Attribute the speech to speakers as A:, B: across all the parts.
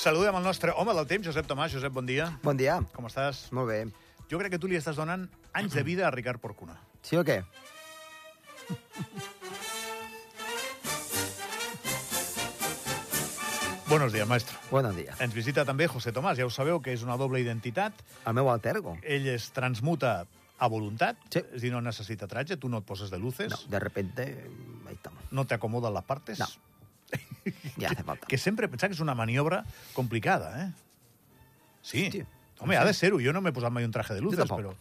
A: Saludem el nostre home del temps, Josep Tomàs. Josep, bon dia.
B: Bon dia.
A: Com estàs?
B: Molt bé.
A: Jo crec que tu li estàs donant anys de vida a Ricard Porcuna.
B: Sí o què?
A: Buenos días, maestro.
B: Bon dia.
A: Ens visita també José Tomàs. Ja ho sabeu, que és una doble identitat.
B: El meu alter ego.
A: Ell es transmuta a voluntat,
B: Sí.
A: és a dir, no necessita traje, tu no et poses de luces,
B: No, de repente, ahí estamos.
A: no, te acomodan las partes.
B: No. Ya hace falta.
A: Que sempre pensar que és una maniobra complicada, eh? Sí.
B: Hòstia.
A: Home, ha de ser-ho. Jo no m'he posat mai un traje de luces,
B: tampoc.
A: però,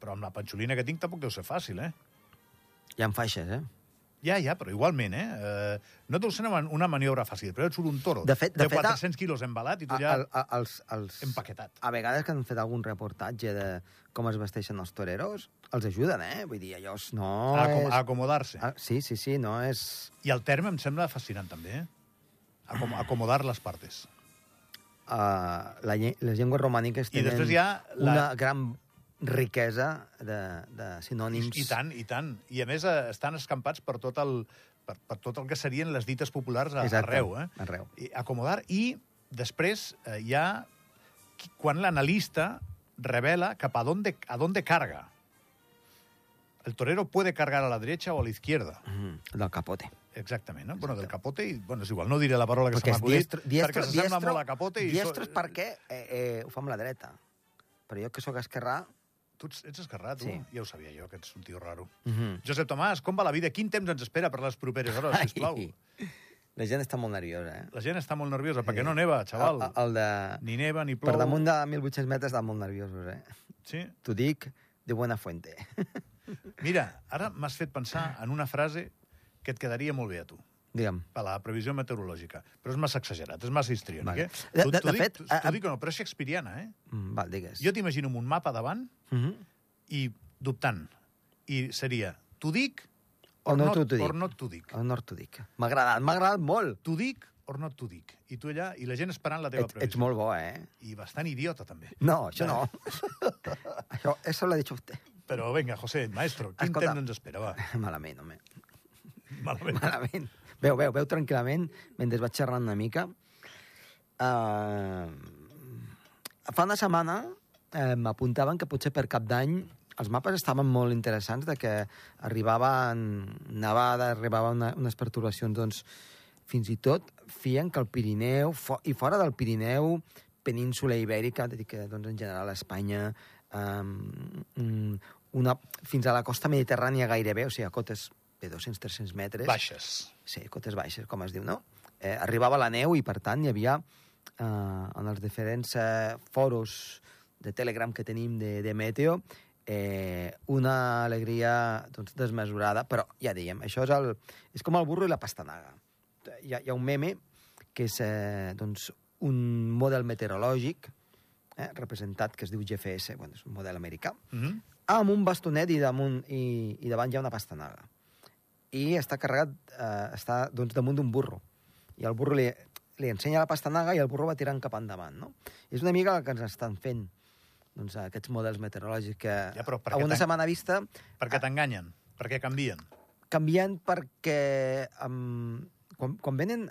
A: però amb la panxolina que tinc tampoc deu ser fàcil, eh?
B: Hi ha faixes, eh?
A: Ja, ja, però igualment, eh? eh no deu ser una, man- una maniobra fàcil, però et surt un toro
B: De fet- de fet, a-
A: 400 quilos embalat i tu ja...
B: A, a, a, els, els...
A: Empaquetat.
B: A vegades que han fet algun reportatge de com es vesteixen els toreros, els ajuden, eh? Vull dir, allò és- no
A: A, acom a
B: és...
A: acomodar-se.
B: Ah, sí, sí, sí, no és...
A: I el terme em sembla fascinant, també, eh? Acom acomodar les partes.
B: Uh, la, lle- les llengües romàniques
A: I
B: tenen
A: després hi ha la-
B: una gran riquesa de, de sinònims.
A: I tant, i tant. I a més eh, estan escampats per tot el, per, per tot el que serien les dites populars a,
B: Exacte,
A: arreu. Eh?
B: arreu.
A: I, acomodar. I després eh, hi ha qui- quan l'analista revela cap a dónde, a dónde carga. El torero puede cargar a la derecha o a la izquierda.
B: Mm, del capote.
A: Exactament, no? Bueno, del capote, i, bueno, és igual, no diré la paraula que
B: Perquè
A: se
B: és
A: m'ha acudit,
B: diestro, diestro,
A: perquè s'assembla
B: diestro,
A: molt a capote. I
B: diestro és
A: so-
B: perquè eh, eh, ho fa amb la dreta. Però jo que sóc esquerrà...
A: Tu ets, ets esquerrà, tu?
B: Sí.
A: Ja ho sabia jo, que ets un tio raro.
B: Mm -hmm.
A: Josep Tomàs, com va la vida? Quin temps ens espera per les properes hores, sisplau?
B: La gent està molt nerviosa, eh?
A: La gent està molt nerviosa, perquè
B: Sí.
A: no neva, xaval.
B: El, el de...
A: Ni neva, ni plou.
B: Per damunt de 1.800 metres estan molt nerviosos, eh?
A: Sí.
B: T'ho dic de buena fuente.
A: Mira, ara m'has fet pensar en una frase que et quedaria molt bé a tu,
B: Digue'm.
A: per la previsió meteorològica. Però és massa exagerat, és massa histriònic,
B: Vale.
A: eh?
B: De-
A: T'ho-
B: de-
A: t'ho
B: de
A: dic-
B: fet,
A: t'ho-
B: a-
A: T'ho dic que no, però és shakespeariana, eh?
B: Mm, Val, digues.
A: Jo t'imagino amb un mapa davant
B: Mm -hmm.
A: i dubtant. I seria, t'ho dic
B: O no t'ho dic.
A: or no t'ho dic.
B: El nord t'ho dic. M'ha agradat, m'ha agradat molt.
A: T'ho dic or no t'ho dic. I tu allà, i la gent esperant la teva
B: Et, ets
A: previsió.
B: molt bo, eh?
A: I bastant idiota, també.
B: No, això no. això, eso lo ha dicho usted.
A: Però vinga, José, maestro, quin
B: Escolta.
A: temps ens espera, va?
B: Malament, home.
A: Malament.
B: Malament. Veu, veu, veu tranquil·lament, mentre vaig xerrant una mica. Uh, fa una setmana eh, m'apuntaven que potser per cap d'any els mapes estaven molt interessants, de que arribaven nevades, arribaven una, unes pertorbacions, doncs, fins i tot fien que el Pirineu, fo i fora del Pirineu, península ibèrica, dir que doncs, en general Espanya, um, una, fins a la costa mediterrània gairebé, o sigui, a cotes de 200-300 metres
A: Baixes.
B: sí, cotes baixes, com es diu, no? Eh, arribava la neu i, per tant, hi havia eh, en els diferents eh, foros de Telegram que tenim de, de Meteo eh, una alegria doncs, desmesurada, però ja dèiem, això és, el, és com el burro i la pastanaga. Hi ha, hi ha un meme que és eh, doncs, un model meteorològic eh, representat que es diu GFS, bueno, és un model americà,
A: Mm -hmm.
B: Ah, amb un bastonet i, damunt, i, i davant hi ha una pastanaga. I està carregat, eh, està doncs, damunt d'un burro. I el burro li, li ensenya la pastanaga i el burro va tirant cap endavant. No? És una mica el que ens estan fent doncs, aquests models meteorològics que
A: Ja, però per
B: a
A: què
B: una
A: tan-
B: setmana vista
A: Per què t'enganyen? Per què canvien?
B: canvien perquè um, quan, quan venen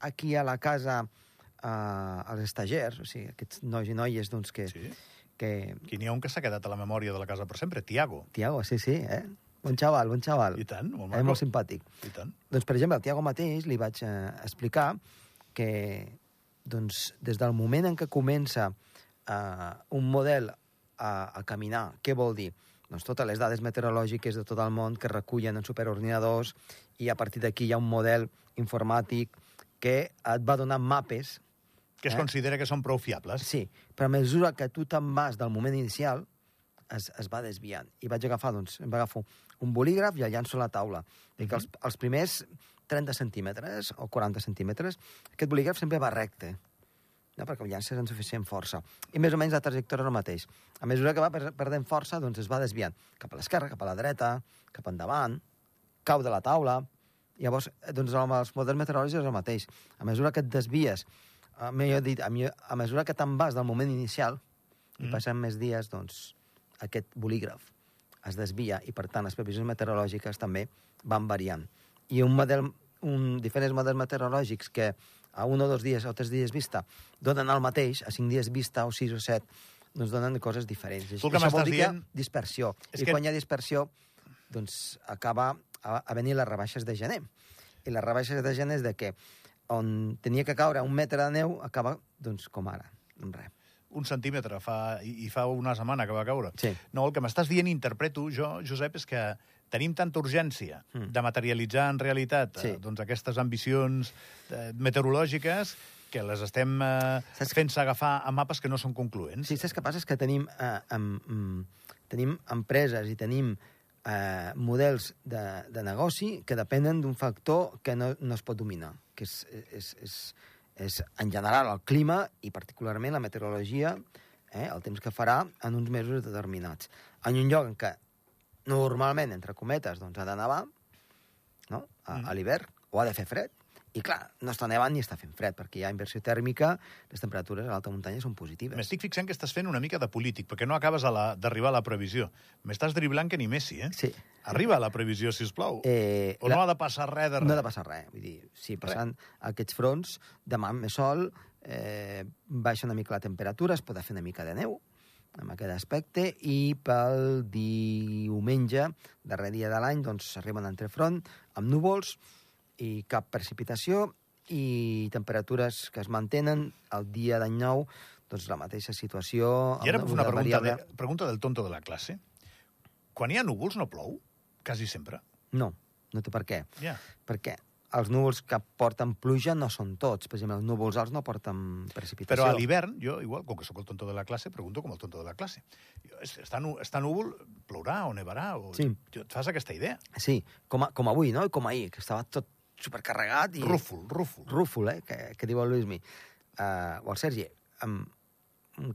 B: aquí a la casa uh, els estagers, o sigui, aquests nois i noies doncs, que,
A: Sí.
B: que...
A: Aquí n'hi ha un que s'ha quedat a la memòria de la casa per sempre, Tiago.
B: Tiago, sí, sí, eh? Bon xaval, bon xaval.
A: I tant, molt
B: Eh,
A: maco.
B: molt simpàtic.
A: I tant.
B: Doncs, per exemple, al Tiago mateix li vaig eh, explicar que doncs, des del moment en què comença eh, un model a, a caminar, què vol dir? Doncs totes les dades meteorològiques de tot el món que recullen en superordinadors i a partir d'aquí hi ha un model informàtic que et va donar mapes
A: Que es
B: Eh?
A: considera que són prou fiables.
B: Sí, però a mesura que tu te'n vas del moment inicial, es, es va desviant. I vaig agafar, doncs, em va agafar un bolígraf i el llanço a la taula. Dic, els, els primers 30 centímetres o 40 centímetres, aquest bolígraf sempre va recte, no? perquè el llances amb suficient força. I més o menys la trajectòria és el mateix. A mesura que va per- perdent força, doncs es va desviant cap a l'esquerra, cap a la dreta, cap endavant, cau de la taula... Llavors, eh, doncs, amb els models meteorològics és el mateix. A mesura que et desvies, a, millor dit, a, millor, a mesura que te'n vas del moment inicial i
A: Mm.
B: passen més dies, doncs, aquest bolígraf es desvia i, per tant, les previsions meteorològiques també van variant. I un model, un, diferents models meteorològics que a un o dos dies o tres dies vista donen el mateix, a cinc dies vista o sis o set, doncs donen coses diferents.
A: Tu el que
B: Això vol
A: m'estàs
B: dir que hi ha
A: dient-
B: dispersió.
A: És
B: I
A: que-
B: quan hi ha dispersió, doncs acaba a, a venir les rebaixes de gener. I les rebaixes de gener és de que on tenia que caure un metre de neu acaba, doncs, com ara, amb res.
A: Un centímetre fa, i, i fa una setmana que va caure.
B: Sí.
A: No, el que m'estàs dient, interpreto jo, Josep, és que tenim tanta urgència de materialitzar en realitat
B: Mm. Sí.
A: eh, doncs aquestes ambicions eh, meteorològiques que les estem eh,
B: Saps que-
A: fent-se agafar a mapes que no són concloents.
B: Sí, saps què passa? És que tenim, eh, em, em- tenim empreses i tenim eh, models de, de negoci que depenen d'un factor que no, no es pot dominar, que és, és, és, és, en general, el clima i particularment la meteorologia, eh, el temps que farà en uns mesos determinats. En un lloc en què normalment, entre cometes, doncs ha de nevar, no? a, a l'hivern, o ha de fer fred. I clar, no està nevant ni està fent fred, perquè hi ha inversió tèrmica, les temperatures a l'alta muntanya són positives.
A: M'estic fixant que estàs fent una mica de polític, perquè no acabes a la- d'arribar a la previsió. M'estàs driblant que ni Messi, eh?
B: Sí.
A: Arriba a la previsió, si us plau.
B: Eh,
A: o no ha de passar res de res.
B: no ha de passar res. Vull dir, si passant aquests fronts, demà més sol, eh, baixa una mica la temperatura, es podrà fer una mica de neu, amb aquest aspecte, i pel diumenge, darrer dia de l'any, doncs arriba un entrefront amb núvols i cap precipitació i temperatures que es mantenen el dia d'any nou, doncs la mateixa situació...
A: I ara
B: amb
A: una pregunta,
B: variable-
A: de, pregunta del tonto de la classe. Quan hi ha núvols no plou? Quasi sempre.
B: No, no té per què.
A: Ja.
B: perquè els núvols que porten pluja no són tots. Per exemple, els núvols alts no porten precipitació.
A: Però a l'hivern, jo igual, com que sóc el tonto de la classe, pregunto com el tonto de la classe. Jo, és- Està, nu- està núvol, plourà o nevarà? O...
B: Sí.
A: Jo, et fas aquesta idea?
B: Sí, com, a, com avui, no? I com ahir, que estava tot supercarregat i...
A: Rúfol, rúfol.
B: Rúfol, eh? Que, que diu el Luismi. Uh, o el Sergi. Um,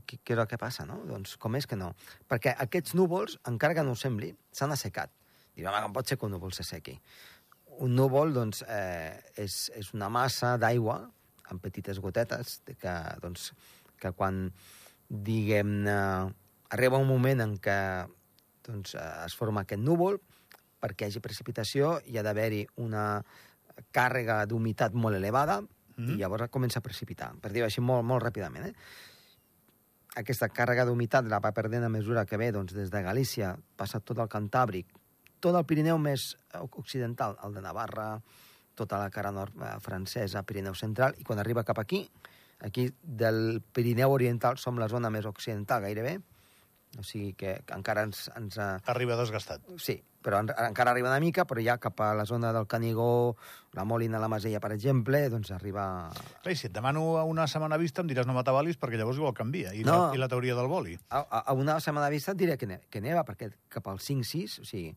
B: què, què és el que passa, no? Doncs com és que no? Perquè aquests núvols, encara que no ho sembli, s'han assecat. Diu, home, com pot ser que un núvol s'assequi? Un núvol, doncs, eh, és, és una massa d'aigua amb petites gotetes de que, doncs, que quan, diguem-ne, arriba un moment en què doncs, eh, es forma aquest núvol, perquè hi hagi precipitació hi ha d'haver-hi una càrrega d'humitat molt elevada
A: Mm-hmm.
B: mm. i llavors comença a precipitar, per dir-ho així molt, molt ràpidament. Eh? Aquesta càrrega d'humitat la va perdent a mesura que ve doncs, des de Galícia, passa tot el Cantàbric, tot el Pirineu més eh, occidental, el de Navarra, tota la cara nord eh, francesa, Pirineu central, i quan arriba cap aquí, aquí del Pirineu oriental som la zona més occidental gairebé, o sigui que encara ens, ens, eh,
A: Arriba desgastat.
B: Sí, però en, encara arriba una mica, però ja cap a la zona del Canigó, la Molina, la Masella, per exemple, doncs arriba...
A: Clar, i si et demano a una setmana vista em diràs no m'atabalis perquè llavors igual canvia. I,
B: No.
A: la, I la teoria del boli.
B: A, a, a una setmana de vista et diré que, ne, que neva, perquè cap al 5-6, o sigui,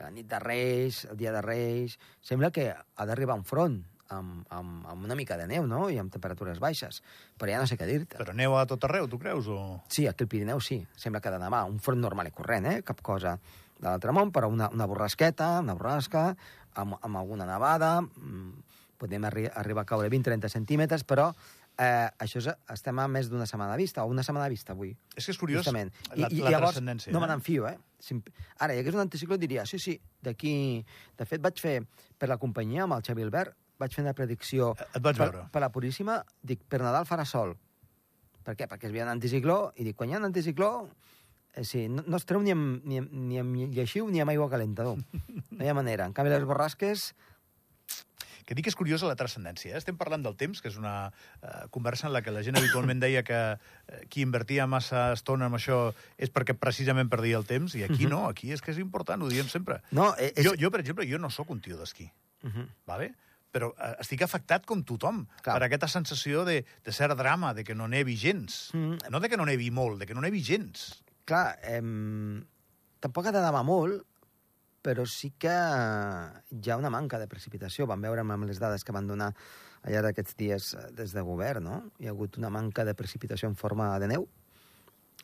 B: la nit de Reis, el dia de Reis... Sembla que ha d'arribar un front amb, amb, amb una mica de neu, no?, i amb temperatures baixes. Però ja no sé què dir-te.
A: Però neu a tot arreu, tu creus? O...
B: Sí, aquí al Pirineu sí. Sembla que ha de nevar. Un front normal i corrent, eh? Cap cosa de l'altre món, però una, una borrasqueta, una borrasca, amb, amb alguna nevada... mm, Podem arri arribar a caure 20-30 centímetres, però eh, això és, estem a més d'una setmana de vista, o una setmana de vista avui.
A: És que és curiós
B: Justament.
A: la, la
B: llavors,
A: transcendència.
B: No me n'enfio, eh? Si, em- ara, hi hagués un anticicló, diria, sí, sí, d'aquí... De fet, vaig fer, per la companyia, amb el Xavi Albert, vaig fer una predicció...
A: Et Eh, vaig
B: per,
A: veure.
B: Per la Puríssima, dic, per Nadal farà sol. Per què? Perquè es veia un anticicló, i dic, quan hi ha un anticicló, eh, sí, no, no es treu ni amb, ni, amb- ni amb lleixiu ni amb aigua calentador. No hi ha manera. En canvi, les borrasques...
A: Que dic que és curiosa la transcendència. Eh? Estem parlant del temps, que és una eh, conversa en la que la gent habitualment deia que eh, qui invertia massa estona en això és perquè precisament perdia el temps, i aquí no, aquí és que és important, ho diem sempre.
B: No, eh, és...
A: Jo, jo per exemple, jo no sóc un tio d'esquí,
B: Uh -huh.
A: vale? però eh, estic afectat com tothom
B: Clar.
A: per aquesta sensació de, de cert drama, de que no nevi gens.
B: Mm.
A: No de que no nevi molt, de que no nevi gens.
B: clar, em, tampoc ha de nevar molt, però sí que hi ha una manca de precipitació. Vam veure amb les dades que van donar al llarg d'aquests dies eh, des de govern, no? Hi ha hagut una manca de precipitació en forma de neu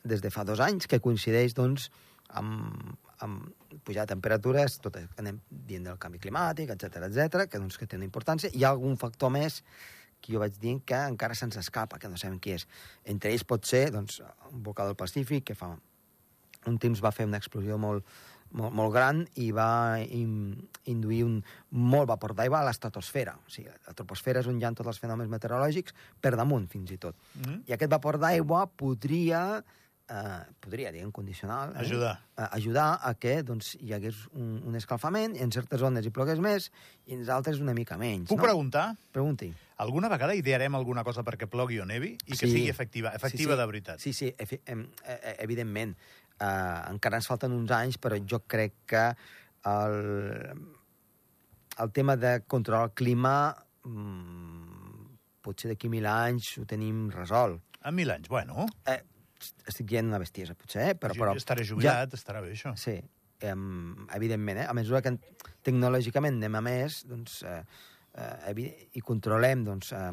B: des de fa dos anys, que coincideix, doncs, amb, amb pujar de temperatures, tot el que anem dient del canvi climàtic, etc etc, que, doncs, que té una importància. Hi ha algun factor més que jo vaig dient que encara se'ns escapa, que no sabem qui és. Entre ells pot ser, doncs, un volcà del Pacífic, que fa un temps va fer una explosió molt, molt, molt gran i va in, induir un molt vapor d'aigua a l'estratosfera. O sigui, la troposfera és on hi ha tots els fenòmens meteorològics, per damunt, fins i tot.
A: Mm?
B: I aquest vapor d'aigua podria, eh, podria, diguem, condicional... Eh?
A: Ajudar.
B: a ajudar a que doncs, hi hagués un, un escalfament, i en certes zones hi plogués més i en altres una mica menys.
A: Puc
B: no?
A: preguntar?
B: Pregunti.
A: Alguna vegada idearem alguna cosa perquè plogui o nevi i que
B: Sí.
A: sigui efectiva, efectiva
B: sí, sí.
A: de veritat.
B: Sí, sí, efi- em, eh, eh, evidentment. Uh, encara ens falten uns anys, però jo crec que el, el tema de controlar el clima mm, potser d'aquí mil anys ho tenim resolt.
A: A mil anys, bueno,
B: Eh, estic dient una bestiesa, potser, eh? però,
A: però,
B: però
A: estaré
B: ja-
A: jubilat, estarà bé això.
B: Sí, em, evidentment, eh? A mesura que en- tecnològicament anem a més, doncs, eh, eh, evi- i controlem, doncs, eh,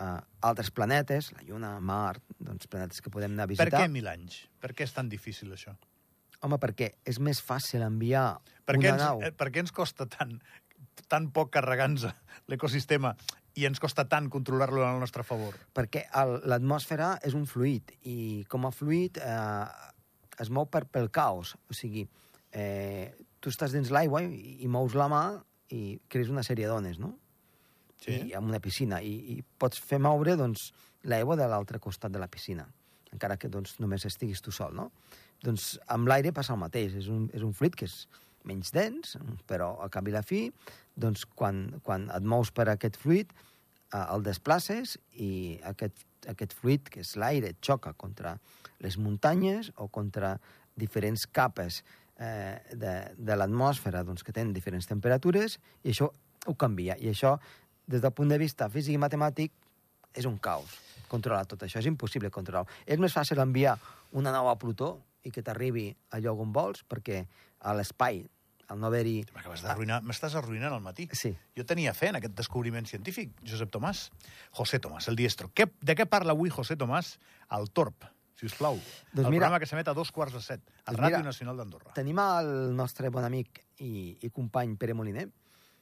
B: eh, altres planetes, la Lluna, Mart, doncs planetes que podem anar a
A: Per
B: visitar.
A: què mil anys? Per què és tan difícil això?
B: Home, perquè és més fàcil enviar
A: Per què
B: una
A: ens,
B: nau.
A: eh, per què ens costa tant, tan poc carregar-nos l'ecosistema i ens costa tant controlar-lo al nostre favor?
B: Perquè el- l'atmosfera és un fluid, i com a fluid eh, es mou per, pel caos. O sigui, eh, tu estàs dins l'aigua i, i mous la mà i crees una sèrie d'ones, no? sí.
A: Eh?
B: i amb una piscina i, i pots fer moure doncs, l'aigua de l'altre costat de la piscina, encara que doncs, només estiguis tu sol, no? Doncs amb l'aire passa el mateix, és un, és un fluid que és menys dens, però al cap i la fi, doncs, quan, quan et mous per aquest fluid, eh, el desplaces i aquest, aquest fluid, que és l'aire, et xoca contra les muntanyes o contra diferents capes eh, de, de l'atmosfera doncs, que tenen diferents temperatures i això ho canvia. I això, des del punt de vista físic i matemàtic, és un caos. Controlar tot això és impossible controlar. És més fàcil enviar una nau a Plutó i que t'arribi a lloc on vols, perquè a l'espai, al no haver-hi...
A: M'acabes d'arruïnar, m'estàs arruïnant el matí.
B: Ah. Sí.
A: Jo tenia fe en aquest descobriment científic, Josep Tomàs. José Tomàs, el diestro. Què, de què parla avui José Tomàs al Torp, si us plau?
B: Doncs
A: el
B: mira-
A: programa que s'emet a dos quarts de set, a
B: Doncs
A: Ràdio
B: mira-
A: Nacional d'Andorra.
B: Tenim el nostre bon amic i, i company Pere Moliner,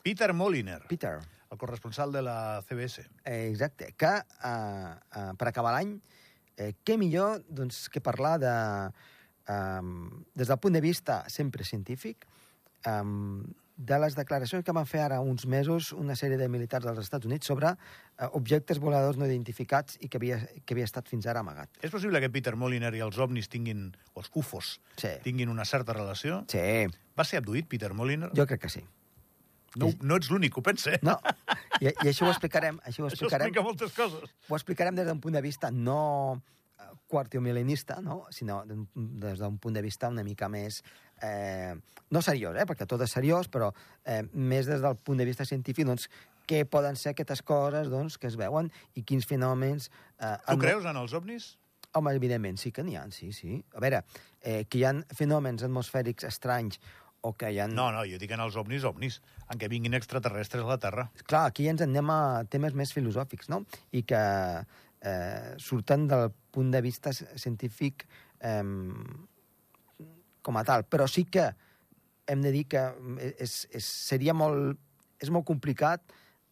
A: Peter Moliner,
B: Peter,
A: el corresponsal de la CBS.
B: Eh, exacte, que eh, eh, per acabar l'any, eh, què millor doncs, que parlar de, eh, des del punt de vista sempre científic eh, de les declaracions que van fer ara uns mesos una sèrie de militars dels Estats Units sobre eh, objectes voladors no identificats i que havia, que havia estat fins ara amagat.
A: És possible que Peter Moliner i els ovnis tinguin, o els UFOs,
B: Sí.
A: tinguin una certa relació?
B: Sí,
A: Va ser abduït, Peter Moliner?
B: jo crec que sí.
A: No, no ets l'únic, ho pensa. eh?
B: No, i, i això ho explicarem, això ho
A: Això
B: explicarem,
A: explica moltes coses.
B: ho explicarem des d'un punt de vista no eh, quartiomilenista, no? sinó d'un- des d'un punt de vista una mica més... Eh, no seriós, eh? perquè tot és seriós, però eh, més des del punt de vista científic, doncs, què poden ser aquestes coses doncs, que es veuen i quins fenòmens... Eh,
A: Tu
B: han-
A: creus en els ovnis?
B: Home, evidentment, sí que n'hi ha, sí, sí. A veure, eh, que hi ha fenòmens atmosfèrics estranys o que hi ha...
A: No, no, jo dic en els ovnis, ovnis, en què vinguin extraterrestres a la Terra.
B: clar, aquí ens anem a temes més filosòfics, no? I que eh, surten del punt de vista ci- científic eh, com a tal. Però sí que hem de dir que mm, és, és, seria molt, és molt complicat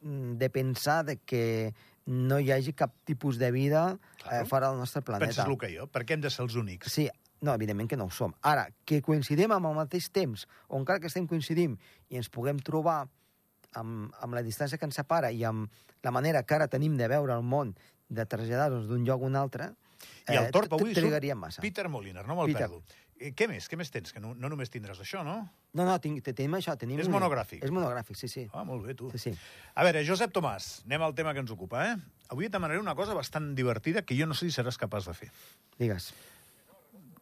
B: mm, de pensar de que no hi hagi cap tipus de vida eh,
A: Claro.
B: fora del nostre planeta.
A: Penses el que jo? Per què hem de ser els únics?
B: Sí, no, evidentment que no ho som. Ara, que coincidim amb el mateix temps, o encara que estem coincidim i ens puguem trobar amb, amb la distància que ens separa i amb la manera que ara tenim de veure el món, de traslladar-nos d'un lloc a un altre, eh,
A: I el Torp
B: t-
A: avui surt
B: trigaríem massa.
A: Peter Moliner, no me'l
B: Peter.
A: perdo. Eh, què més? Què més tens? Que no, no només tindràs això, no?
B: No, no, tinc, te- tenim això. Tenim
A: És
B: un-
A: monogràfic.
B: És monogràfic, sí, sí.
A: Ah, molt bé, tu.
B: sí, sí.
A: A veure, Josep Tomàs, anem al tema que ens ocupa, eh? Avui et demanaré una cosa bastant divertida que jo no sé si seràs capaç de fer.
B: Digues.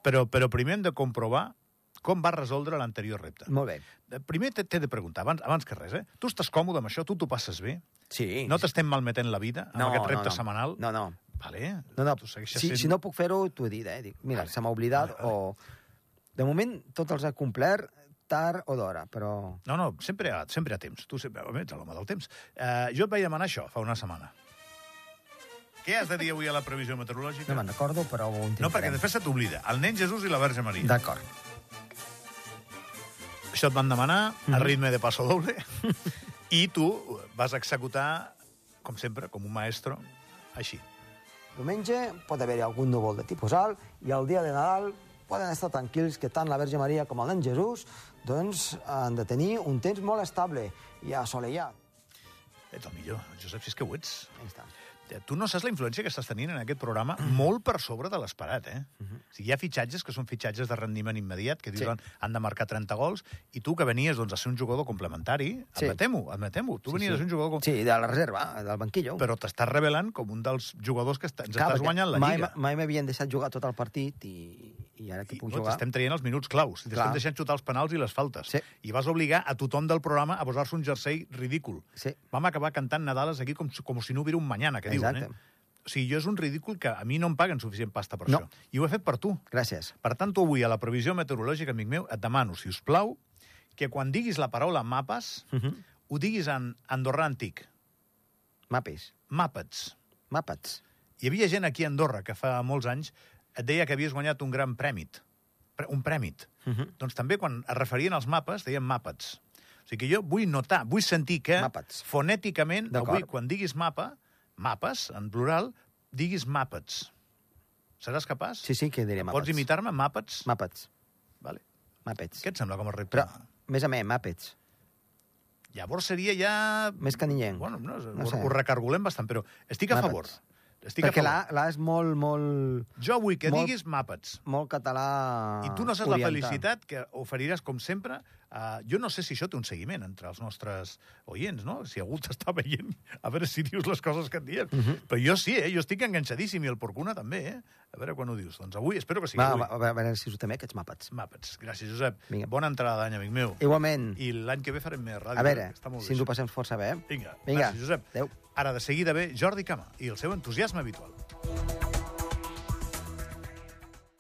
A: Però, però primer hem de comprovar com va resoldre l'anterior repte.
B: Molt bé.
A: Eh, Primer t'he- t'he de preguntar, abans, abans que res, eh? Tu estàs còmode amb això? Tu t'ho passes bé?
B: Sí.
A: No t'estem malmetent la vida amb aquest repte
B: no.
A: setmanal?
B: No, no.
A: Vale.
B: No, no,
A: Tu
B: si,
A: segueixes sent...
B: si no puc fer-ho, t'ho he dit, eh? Dic, mira, se m'ha oblidat,
A: Vale, vale.
B: o... De moment, tots els ha complert tard o d'hora, però...
A: No, no, sempre a, sempre a temps. Tu sempre, home, ets l'home del temps. Uh, jo et vaig demanar això fa una setmana. Què has de dir avui a la previsió meteorològica?
B: No me'n recordo, però ho intentarem.
A: no perquè després se t'oblida. El nen Jesús i la Verge Maria.
B: D'acord.
A: Això et van demanar mm -hmm.
B: Mhm.
A: a ritme de paso doble i tu vas executar, com sempre, com un maestro, així.
B: Diumenge pot haver-hi algun núvol de tipus alt i el dia de Nadal poden estar tranquils que tant la Verge Maria com el nen Jesús doncs han de tenir un temps molt estable i assolellat.
A: Ets el millor, Josep, si és que ho ets.
B: Ahí està.
A: Eh, Tu no saps la influència que estàs tenint en aquest programa
B: Mhm.
A: molt per sobre de l'esperat, eh? O sigui, hi ha fitxatges que són fitxatges de rendiment immediat, que dius
B: Sí.
A: han, han de marcar 30 gols, i tu que venies doncs, a ser un jugador complementari,
B: Sí.
A: admetem-ho, admetem-ho, tu venies a ser un jugador com...
B: Sí, de la reserva, del banquillo.
A: Però t'estàs revelant com un dels jugadors que està, ens
B: Clar,
A: estàs
B: perquè
A: guanyant la
B: mai,
A: Lliga.
B: Mai m'havien deixat jugar tot el partit i, i ara que
A: I,
B: puc
A: no,
B: jugar...
A: T'estem traient els minuts claus, t'estem
B: Clar.
A: deixant xutar els penals i les faltes.
B: Sí.
A: I vas obligar a tothom del programa a posar-se un jersei ridícul.
B: Sí.
A: Vam acabar cantant Nadales aquí com, si- com si no hubiera un mañana, que
B: Exacte.
A: diuen, eh? O sigui, jo és un ridícul que a mi no em paguen suficient pasta per
B: No.
A: això. I ho he fet per tu.
B: Gràcies.
A: Per tant, tu avui, a la previsió meteorològica, amic meu, et demano, si us plau, que quan diguis la paraula mapes, uh
B: Mhm.
A: -huh. ho diguis en andorrà antic,
B: Mapes.
A: màpets.
B: Màpats.
A: Hi havia gent aquí a Andorra que fa molts anys et deia que havies guanyat un gran prèmit. Pre- Un prèmit. Uh -huh. Doncs també quan es referien als mapes, deien màpets. O sigui que jo vull notar, vull sentir que
B: Màpets.
A: fonèticament,
B: D'acord.
A: avui, quan diguis mapa, mapes, en plural, diguis màpets. Seràs capaç?
B: Sí, sí, que diré màpats.
A: Pots imitar-me? Màpets?
B: Màpets.
A: Vale.
B: Màpets.
A: Què et sembla com a repte?
B: Però, més a més, màpets.
A: Llavors seria ja...
B: Més caninyenc.
A: Bueno, no,
B: Mm. No
A: ho,
B: sé.
A: ho recargolem bastant, però estic a
B: Màpets.
A: favor. Estic
B: Perquè
A: a
B: la,
A: favor.
B: la és molt, molt,
A: Jo vull que
B: Molt-
A: diguis màpets.
B: molt català
A: I tu no saps la
B: oriental.
A: felicitat que oferiràs, com sempre. Uh, jo no sé si això té un seguiment entre els nostres oients, no? Si algú t'està veient, a veure si dius les coses que et diem.
B: Mhm.
A: Però jo sí, eh? Jo estic enganxadíssim, i el Porcuna també, eh? A veure quan ho dius. Doncs avui, espero que sigui
B: Va,
A: avui.
B: va, a veure- a veure si us també aquests màpets.
A: Màpets. Gràcies, Josep.
B: Vinga.
A: Bona entrada d'any, amic meu.
B: Igualment,
A: I l'any que ve farem més ràdio.
B: a veure,
A: que està molt
B: si ens
A: bé,
B: ho passem força bé. eh?
A: això. Vinga,
B: Vinga,
A: gràcies, Josep.
B: adéu.
A: Ara, de seguida ve Jordi Cama i el seu entusiasme habitual.